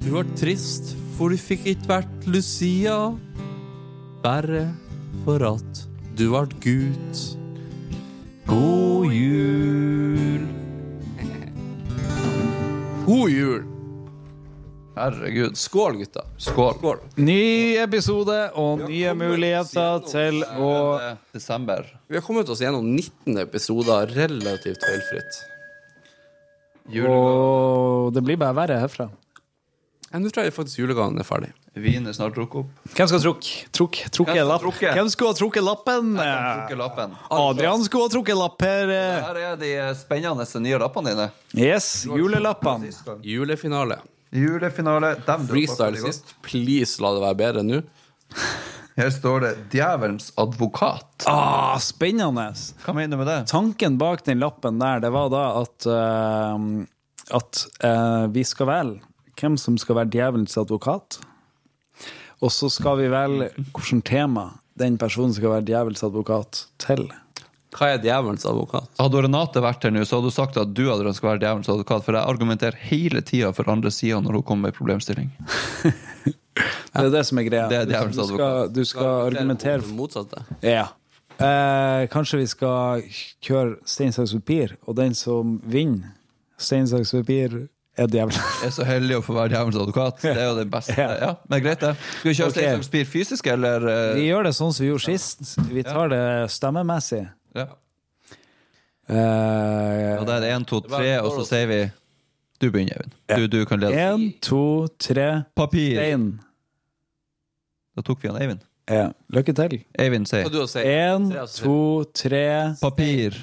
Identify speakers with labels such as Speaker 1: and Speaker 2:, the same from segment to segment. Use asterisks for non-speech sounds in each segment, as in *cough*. Speaker 1: Du var trist, for du fikk ikke vært Lucia. Bare for at du vart gutt. God jul. God jul. Herregud. Skål, gutta.
Speaker 2: Skål.
Speaker 1: Skål.
Speaker 2: Ny episode og nye
Speaker 1: Velkommen
Speaker 2: muligheter til å
Speaker 3: eh, Desember.
Speaker 1: Vi har kommet oss gjennom 19 episoder relativt feilfritt.
Speaker 2: Og det blir bare verre herfra.
Speaker 1: Ja, Nå tror jeg faktisk julegaven er ferdig.
Speaker 3: Vin er snart drukket opp.
Speaker 2: Hvem skal trukke? Trukk, trukke
Speaker 3: skal
Speaker 2: lapp.
Speaker 3: trukke?
Speaker 2: Hvem skulle ha trukket lappen?
Speaker 3: Trukket lappen.
Speaker 2: Adrian skulle ha trukket lapp her.
Speaker 3: Her er de spennende nye lappene dine.
Speaker 2: Yes, julelappene.
Speaker 1: Julefinale.
Speaker 3: Julefinale. Dem du
Speaker 1: Freestyle
Speaker 3: passer deg
Speaker 1: sist. Please, la det være bedre nå.
Speaker 3: godt. Her står det 'Djevelens advokat'.
Speaker 2: Ah, spennende.
Speaker 3: Hva mener du med det?
Speaker 2: Tanken bak den lappen der, det var da at, eh, at eh, vi skal velge hvem som skal være djevelens advokat. Og så skal vi velge hvilket tema den personen skal være djevelens advokat til.
Speaker 1: Hva er djevelens advokat?
Speaker 3: Hadde Renate vært her nå, så hadde hun sagt at du hadde ønsket å være djevelens advokat, for jeg argumenterer hele tida for andre sida når hun kommer med en problemstilling.
Speaker 2: Det er det som er greia.
Speaker 3: Det er djevelens
Speaker 2: du, skal, du skal argumentere
Speaker 1: Det
Speaker 2: for
Speaker 1: motsatte.
Speaker 2: Ja. Eh, kanskje vi skal kjøre stein, saks, papir, og den som vinner stein, saks, papir, er djevelen.
Speaker 3: *laughs* Jeg er så heldig å få være djevelens advokat. Det er jo det beste. Ja, men greit, det. Skal vi kjøre
Speaker 2: Ok.
Speaker 3: okay. Stein Spir fysisk, eller eh,
Speaker 2: Vi gjør det sånn som vi gjorde sist. Vi tar det stemmemessig.
Speaker 3: ja.
Speaker 2: Eh,
Speaker 3: Og der er én, to, tre, og så sier vi Du begynner, Eivind. Du, du kan lede.
Speaker 2: En, to, tre,
Speaker 3: Papir.
Speaker 2: stein.
Speaker 3: Da tok vi han Eivind.
Speaker 2: Ja. Lykke til.
Speaker 3: Eivind sier
Speaker 1: Hva du å si?
Speaker 2: En,
Speaker 1: Tre, altså.
Speaker 2: to, tre
Speaker 3: papir.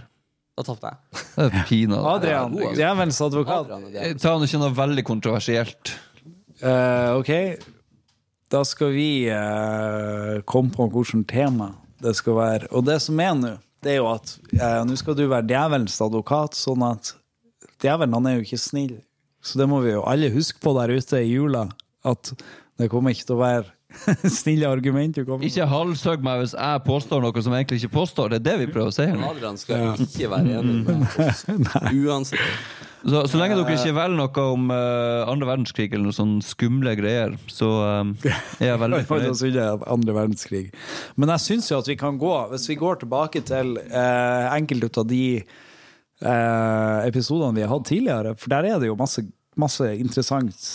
Speaker 1: Da tapte jeg.
Speaker 3: Det er pinadø.
Speaker 2: Adrian,
Speaker 1: Herregud.
Speaker 2: djevelens advokat.
Speaker 1: altså. Adrian er djevelens.
Speaker 3: Ta nå ikke noe veldig kontroversielt.
Speaker 2: Eh, ok, da skal vi eh, komme på hvilket tema det skal være. Og det som er nå, det er jo at eh, nå skal du være djevelens advokat, sånn at djevelen han er jo ikke snill. Så det må vi jo alle huske på der ute i jula, at det kommer ikke til å være *laughs* snille argument. Du kommer.
Speaker 3: Ikke halshøg meg hvis jeg påstår noe som jeg egentlig ikke påstår. Det er det vi prøver å si. her nå.
Speaker 1: Adrian skal ikke være enig med oss.
Speaker 2: *laughs*
Speaker 1: Uansett.
Speaker 3: Så, så lenge dere ikke velger noe om eh, andre verdenskrig eller noe sånn skumle greier, så eh, er jeg
Speaker 2: *laughs*
Speaker 3: veldig
Speaker 2: Oi, oi,
Speaker 3: fornøyd.
Speaker 2: altså, ja, andre verdenskrig. Men jeg syns jo at vi kan gå Hvis vi går tilbake til eh, enkelte av de eh, episodene vi har hatt tidligere, for der er det jo masse, masse interessant.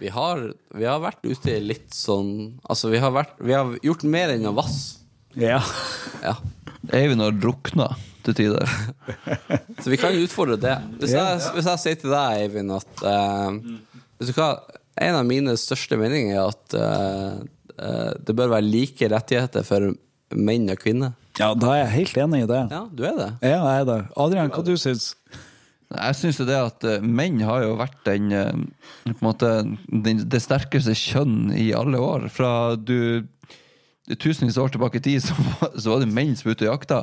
Speaker 1: Vi har, vi har vært ute i litt sånn Altså, vi har, vært, vi har gjort mer enn å vasse.
Speaker 2: Ja.
Speaker 1: Ja.
Speaker 3: Eivind har drukna til tider.
Speaker 1: Så vi kan jo utfordre det. Hvis jeg, hvis jeg sier til deg, Eivind, at eh, Vet du hva? En av mine største meninger er at eh, eh, det bør være like rettigheter for menn og kvinner.
Speaker 2: ja, da er jeg helt enig i det.
Speaker 1: Ja, du er det.
Speaker 2: Ja, jeg er det. Adrian, hva du syns
Speaker 3: Jeg syns jo det at eh, menn har jo vært den eh, på en måte den, det sterkeste kjønn i alle år. Fra du tusenvis av år tilbake i tid, så, var- så var det menn som var ute og jakta.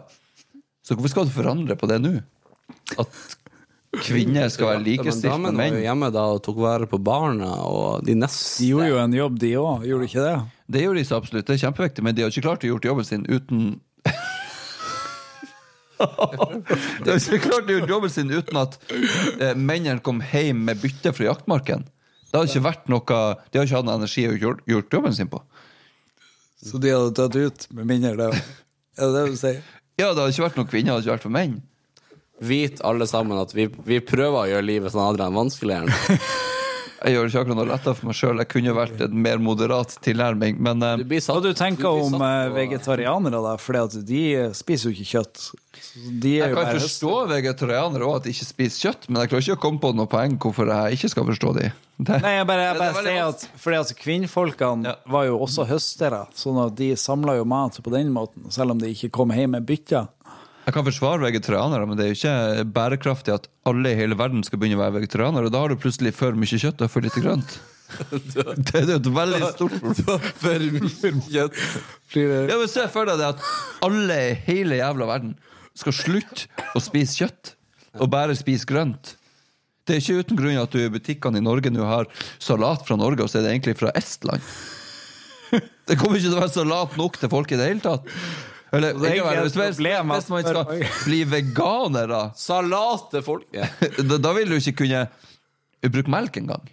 Speaker 3: Så hvorfor skal du forandre på det nå? At kvinner skal være
Speaker 1: Men
Speaker 3: likestilt med
Speaker 1: damene var
Speaker 3: menn?
Speaker 1: jo hjemme da og tok vare på barna og de neste
Speaker 2: De gjorde jo en jobb, de òg, gjorde de ikke det?
Speaker 3: Det gjør de så absolutt, det er kjempeviktig, men de har ikke klart å gjort jobben sin uten *laughs* De har ikke klart å gjort jobben sin uten at eh, mennene kom hjem med bytte fra jaktmarken. Det har ikke vært noe De har ikke hatt noe energi å gjort, gjort jobben sin på.
Speaker 2: Så de hadde tatt ut med mindre det Er det det du sier?
Speaker 3: Ja, det har ikke vært noen kvinner, det har ikke vært for menn.
Speaker 1: Vit alle sammen at vi, vi prøver å gjøre livet sånn Adrian vanskeligere.
Speaker 3: *laughs*
Speaker 1: nå.
Speaker 3: Jeg gjør ikke akkurat noe lettere for meg sjøl. Jeg kunne vært en mer moderat tilnærming, men eh,
Speaker 1: Du blir satt-
Speaker 2: Hva du tenker
Speaker 1: blir
Speaker 2: om
Speaker 1: satt
Speaker 2: eh,
Speaker 1: på-
Speaker 2: vegetarianere, da? For de spiser jo ikke kjøtt. Så De er
Speaker 3: jeg
Speaker 2: jo
Speaker 3: kan
Speaker 2: bare
Speaker 3: forstå vegetarianere òg, at de ikke spiser kjøtt, men jeg klarer ikke å komme på noe poeng hvorfor jeg ikke skal forstå de. Det.
Speaker 2: Nei, jeg bare, jeg
Speaker 3: Det er
Speaker 2: bare
Speaker 3: veldig
Speaker 2: sier at Fordi at kvinnfolkene
Speaker 3: Ja.
Speaker 2: var jo også høstere, sånn at de samla jo mat på den måten, selv om de ikke kom hjem med bytter.
Speaker 3: Jeg kan forsvare vegetarianere, men det er jo ikke bærekraftig at alle i hele verden skal begynne å være vegetarianere. og Da har du plutselig for mye kjøtt og for lite
Speaker 2: *laughs*
Speaker 3: grønt. Det er jo et veldig stort problem.
Speaker 1: *laughs* For mye kjøtt.
Speaker 2: Blir det-
Speaker 3: Ja, men Se for deg det at alle i hele jævla verden skal slutte å spise kjøtt og bare spise grønt. Det er ikke uten grunn at du i butikkene i Norge nå har salat fra Norge, og så er det egentlig fra Estland. Det kommer ikke til å være salat nok til folk i det hele tatt. Eller,
Speaker 2: det er egentlig
Speaker 3: ikke, hvis,
Speaker 2: et
Speaker 3: hvis,
Speaker 2: problem at-
Speaker 3: hvis man skal bli veganer, da *laughs*
Speaker 1: Salat til folk. Ja.
Speaker 3: da, da vil du ikke kunne bruke melk engang.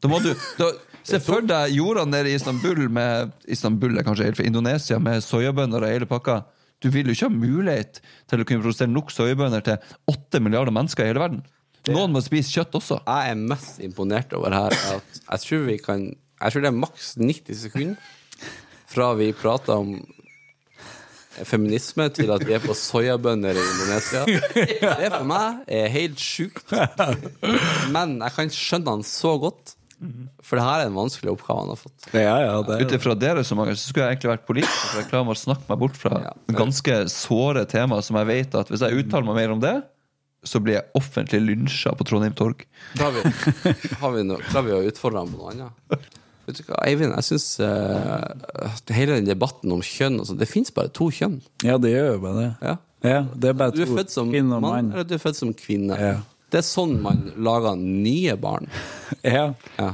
Speaker 3: Da må du da, Se for deg jordene nede i Istanbul med Istanbul er kanskje helt for Indonesia med soyabønner og hele pakka. Du vil jo ikke ha mulighet til å kunne produsere nok soyabønner til åtte milliarder mennesker i hele verden. Noen må spise kjøtt også.
Speaker 1: Jeg er mest imponert over her at jeg tror vi kan Jeg tror det er maks 90 sekunder fra vi prater om feminisme til at vi er på soyabønner i Indonesia. Det for meg er helt sjukt. Men jeg kan skjønne han så godt, for det her er en vanskelig oppgave han har fått.
Speaker 2: Ja, ja, det
Speaker 3: Ut ifra dere så mange, så skulle jeg egentlig vært politiker. For jeg klarer meg å snakke meg bort fra ganske såre temaer som jeg vet at hvis jeg uttaler meg mer om det, så blir jeg offentlig lynsja på Trondheim Torg.
Speaker 1: Klarer vi, har vi noe, klarer vi å utfordre ham på noe annet? Vet du hva, Eivind, jeg syns hele den debatten om kjønn og sånn, det fins bare to kjønn.
Speaker 2: ja, det gjør jo bare det.
Speaker 1: Ja.
Speaker 2: Ja, det er bare
Speaker 1: Du er
Speaker 2: to.
Speaker 1: født som
Speaker 2: Kvinne og
Speaker 1: mann,
Speaker 2: mann.
Speaker 1: eller du er født som kvinne.
Speaker 2: Ja.
Speaker 1: Det er sånn man lager nye barn.
Speaker 2: Ja.
Speaker 1: Ja.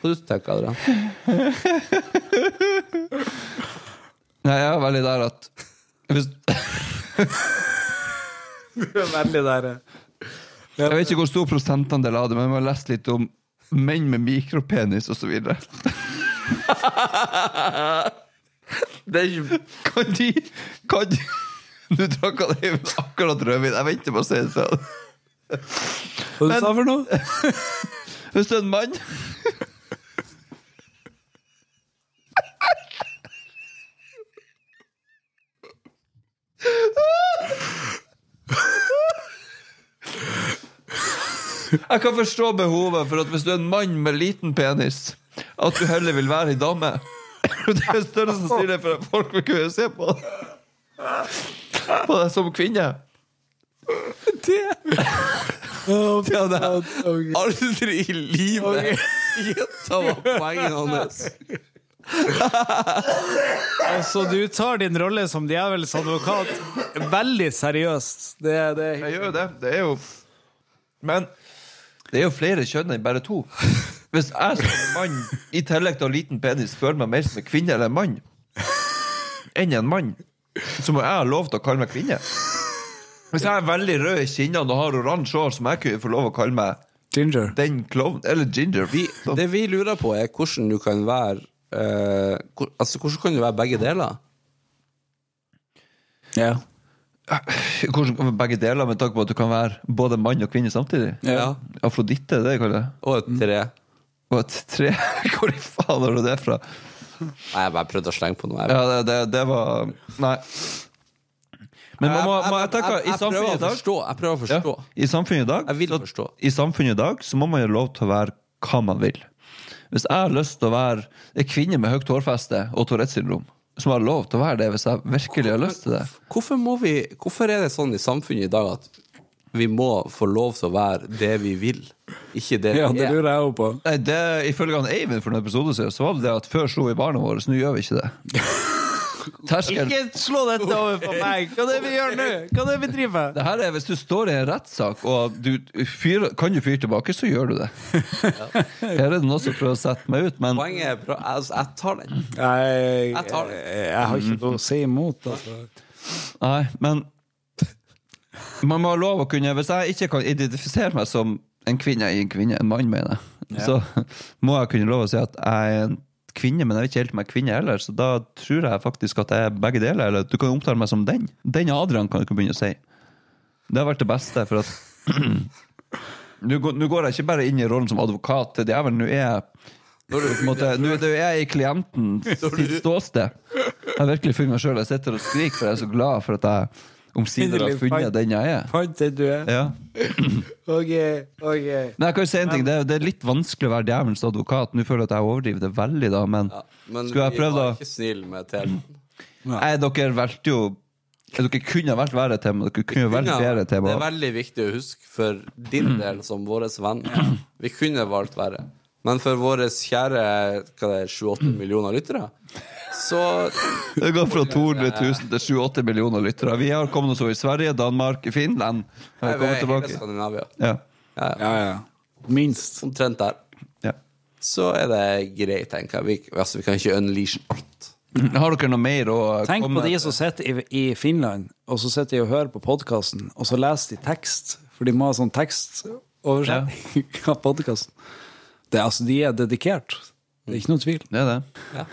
Speaker 1: Hva du tenker du, Adrian?
Speaker 3: Nei, jeg er veldig der at hvis,
Speaker 2: Veldig der.
Speaker 3: Jeg vet ikke hvor stor prosentandel av det, men jeg har lest litt om menn med mikropenis osv. *laughs* Det er ikke Kan de Kan de Du drakk av deg akkurat rødvin. Jeg venter på å si det til deg.
Speaker 2: Hva du sa for noe?
Speaker 3: Hvis det er en mann Jeg kan forstå behovet for at hvis du er en mann med liten penis, at du heller vil være ei dame. Det er større sannsynlighet for at folk vil kunne se på deg På deg som kvinne.
Speaker 2: Det Å,
Speaker 3: Ja, det er
Speaker 2: ok.
Speaker 1: Aldri i livet! Gjetta hva poenget hans
Speaker 2: Altså, du tar din rolle som djevelens advokat veldig seriøst. Det, det er
Speaker 3: Jeg gjør jo det. Det er jo Men det er jo flere kjønn enn bare to. *laughs* Hvis jeg som en mann i tillegg til å ha liten penis føler meg mer som en kvinne eller en mann enn en mann, så må jeg ha lov til å kalle meg kvinne. Hvis jeg er veldig rød i kinnene og har oransje hår, så må jeg kunne få lov å kalle meg
Speaker 2: Ginger.
Speaker 3: den klovnen eller ginger.
Speaker 1: Vi, det vi lurer på, er hvordan du kan være eh, hvor, Altså, hvordan kan du være begge deler?
Speaker 2: Ja.
Speaker 3: Hvordan kan man begge deler med tanke på at du kan være både mann og kvinne samtidig?
Speaker 1: Ja.
Speaker 3: Afroditte, det kaller jeg det.
Speaker 1: Og et tre.
Speaker 3: Og et tre *laughs* Hvor i faen har du det fra?
Speaker 1: Nei, jeg bare prøvde å slenge på noe. Jeg,
Speaker 3: Ja, det, det, det var Nei. Men man må,
Speaker 1: Jeg- jeg-
Speaker 3: man, jeg tenker,
Speaker 1: jeg- jeg
Speaker 3: i samfunnet i
Speaker 1: prøver å
Speaker 3: dag
Speaker 1: forstå. Jeg prøver å forstå.
Speaker 3: ja, I samfunnet i dag
Speaker 1: Jeg vil
Speaker 3: så-
Speaker 1: forstå.
Speaker 3: I samfunnet i dag så må man jo lov til å være hva man vil. Hvis jeg har lyst til å være ei kvinne med høyt hårfeste og Tourettes syndrom, så må jeg ha lov til å være det hvis jeg virkelig har lyst til det.
Speaker 1: Hvorfor, må vi, hvorfor er det sånn i samfunnet i dag at vi må få lov til å være det vi vil, ikke det vi
Speaker 2: ja, det
Speaker 1: er?
Speaker 2: lurer jeg òg på.
Speaker 3: Nei, det, Ifølge han Eivind for noen episode siden, så var det det at før slo vi barna våre, så nå gjør vi ikke *laughs* det. Terskelen
Speaker 2: slå dette over på meg! Hva er det vi gjør nå? Hva er det vi driver med?
Speaker 3: det her er Hvis du står i en rettssak og du fyrer, kan du fyre tilbake, så gjør du det. Her er det noen som prøver å sette meg ut, men
Speaker 1: Poenget er bra. Altså, jeg tar den.
Speaker 2: Jeg, eh,
Speaker 1: Jeg tar det.
Speaker 2: jeg har ikke noe å si imot, altså.
Speaker 3: Nei, men Man må ha lov å kunne Hvis jeg ikke kan identifisere meg som en kvinne i en kvinne, en mann, mener jeg, så *laughs* må jeg kunne lov å si at jeg er en kvinne, men jeg vet ikke helt om jeg er kvinne heller, så da tror jeg faktisk at jeg er begge deler. Eller du kan omtale meg som den. Den Adrian kan du ikke begynne å si. Det har vært det beste, for at *clears throat* Nå går nå går jeg ikke bare inn i rollen som advokat til djevelen, nå er jeg
Speaker 1: Når
Speaker 3: på en
Speaker 1: du,
Speaker 3: måte, nå er det jo jeg i klienten *laughs* sitt ståsted. Jeg har virkelig funnet meg sjøl. Jeg sitter og skriker, for jeg er så glad for at jeg omsider har funnet den jeg er.
Speaker 2: Fant det du er.
Speaker 3: Ja.
Speaker 2: OK, OK.
Speaker 3: Men jeg kan jo si en ting, det er, det er litt vanskelig å være djevelens advokat. Nå føler jeg at jeg overdriver det veldig, da, men
Speaker 1: ja, men
Speaker 3: skulle jeg
Speaker 1: vi
Speaker 3: prøvd,
Speaker 1: var
Speaker 3: da?
Speaker 1: ikke snill med temaet.
Speaker 3: Nei, dere valgte jo Dere kunne ha valgt verre tema. Dere kunne jo valgt bedre
Speaker 1: det
Speaker 3: tema.
Speaker 1: er veldig viktig å huske for din del som vår venn. Vi kunne valgt verre. Men for våre kjære hva det er, 7-8 millioner lyttere, så
Speaker 3: Det har gått fra 200 000 til 7-8 millioner lyttere. Vi har kommet oss over i Sverige, Danmark, Finland.
Speaker 1: er sånn.
Speaker 3: Vi har
Speaker 1: vi
Speaker 3: kommet
Speaker 1: hele
Speaker 3: tilbake.
Speaker 1: Skandinavia.
Speaker 3: Ja.
Speaker 2: Ja, ja. Minst.
Speaker 1: Omtrent der.
Speaker 3: ja.
Speaker 1: Så er det greit, tenker jeg. Vi, altså, vi kan ikke unleash alt.
Speaker 3: Har dere noe mer å
Speaker 2: Tenk på
Speaker 3: komme
Speaker 2: de som sitter i, i Finland, og så sitter de og hører på podkasten, og så leser de tekst, for de må ha *laughs* sånn tekstoversetting av podkasten. Altså, de er dedikert. Det er ikke noe tvil.
Speaker 3: Det er det.
Speaker 1: Ja.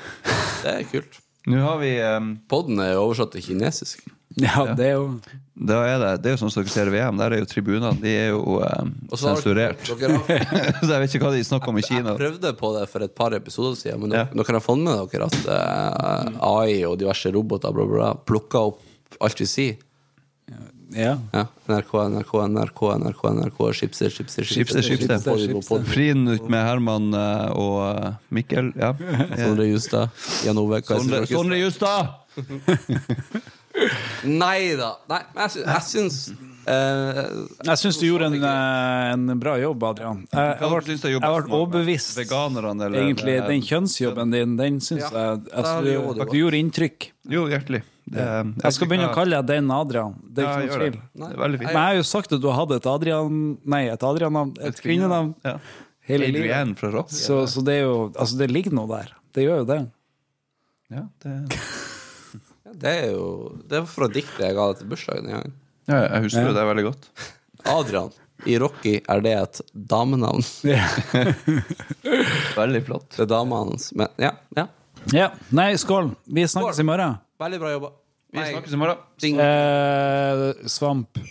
Speaker 1: Det er kult.
Speaker 3: Nå har vi um,
Speaker 1: Podden er jo oversatt til kinesisk.
Speaker 2: Ja, det er jo
Speaker 3: da er det, det er jo sånn som dere ser i VM, der er jo tribunene de er jo um,
Speaker 1: Og så har
Speaker 3: sensurert.
Speaker 1: Dere har
Speaker 3: *laughs* så jeg vet ikke hva de snakker om i Kina.
Speaker 1: Jeg prøvde på det for et par episoder siden, men
Speaker 3: Ja.
Speaker 1: nå kan jeg få med dere at eh, AI og diverse roboter bla, bla, bla, plukker opp alt vi sier.
Speaker 2: Ja.
Speaker 1: Ja. NRK, NRK, NRK, NRK, NRK, skipser, skipser,
Speaker 3: Skipser, skipser.
Speaker 1: På, på, på,
Speaker 3: Frin ut med Herman eh, og eh, Mikkel.
Speaker 1: *laughs*
Speaker 3: Ja. Eh,
Speaker 1: Sondre Justad, Jan Ove
Speaker 3: Sondre,
Speaker 1: Kaiser
Speaker 3: Sondre Justad!
Speaker 1: Nei da! Nei, men jeg, sy- jeg syns eh,
Speaker 2: Jeg syns du gjorde en, eh, en bra jobb, Adrian. Jeg, jeg,
Speaker 3: Hva
Speaker 2: ble,
Speaker 3: syns du er
Speaker 2: jeg
Speaker 3: jobb best
Speaker 2: ble
Speaker 3: med
Speaker 2: overbevist.
Speaker 3: Veganerne, eller?
Speaker 2: Egentlig,
Speaker 3: eh,
Speaker 2: den kjønnsjobben din, den syns
Speaker 1: Ja,
Speaker 2: jeg
Speaker 1: da har
Speaker 2: altså,
Speaker 1: vi gjort det
Speaker 2: du,
Speaker 1: godt.
Speaker 2: du gjorde inntrykk.
Speaker 3: Jo, hjertelig. Det, eh,
Speaker 2: Jeg skal begynne å kalle deg den Adrian. Det er
Speaker 3: Ja, gjør
Speaker 2: ikke noe
Speaker 3: det.
Speaker 2: tvil.
Speaker 3: Det er veldig
Speaker 2: Men
Speaker 3: fint.
Speaker 2: jeg har jo sagt at du hadde et Adrian Nei, et Adrian-navn. Et kvinnenavn.
Speaker 3: Ja.
Speaker 2: Hele livet.
Speaker 3: Adrian fra Rock.
Speaker 2: Så, så det er jo Altså, det ligger noe der. Det gjør jo det.
Speaker 3: Ja, det,
Speaker 1: Det er jo Det var fra diktet jeg ga deg til bursdagen en gang.
Speaker 3: ja, jeg husker jo det veldig godt.
Speaker 1: Adrian i Rocky er det et damenavn.
Speaker 3: Veldig flott.
Speaker 1: Det er dama hans. Men ja. ja.
Speaker 2: Ja. Nei, skål. Vi snakkes i morgen.
Speaker 1: Veldig bra jobba.
Speaker 3: Vi snakkes i morgen.
Speaker 1: Ding.
Speaker 2: Eh, svamp.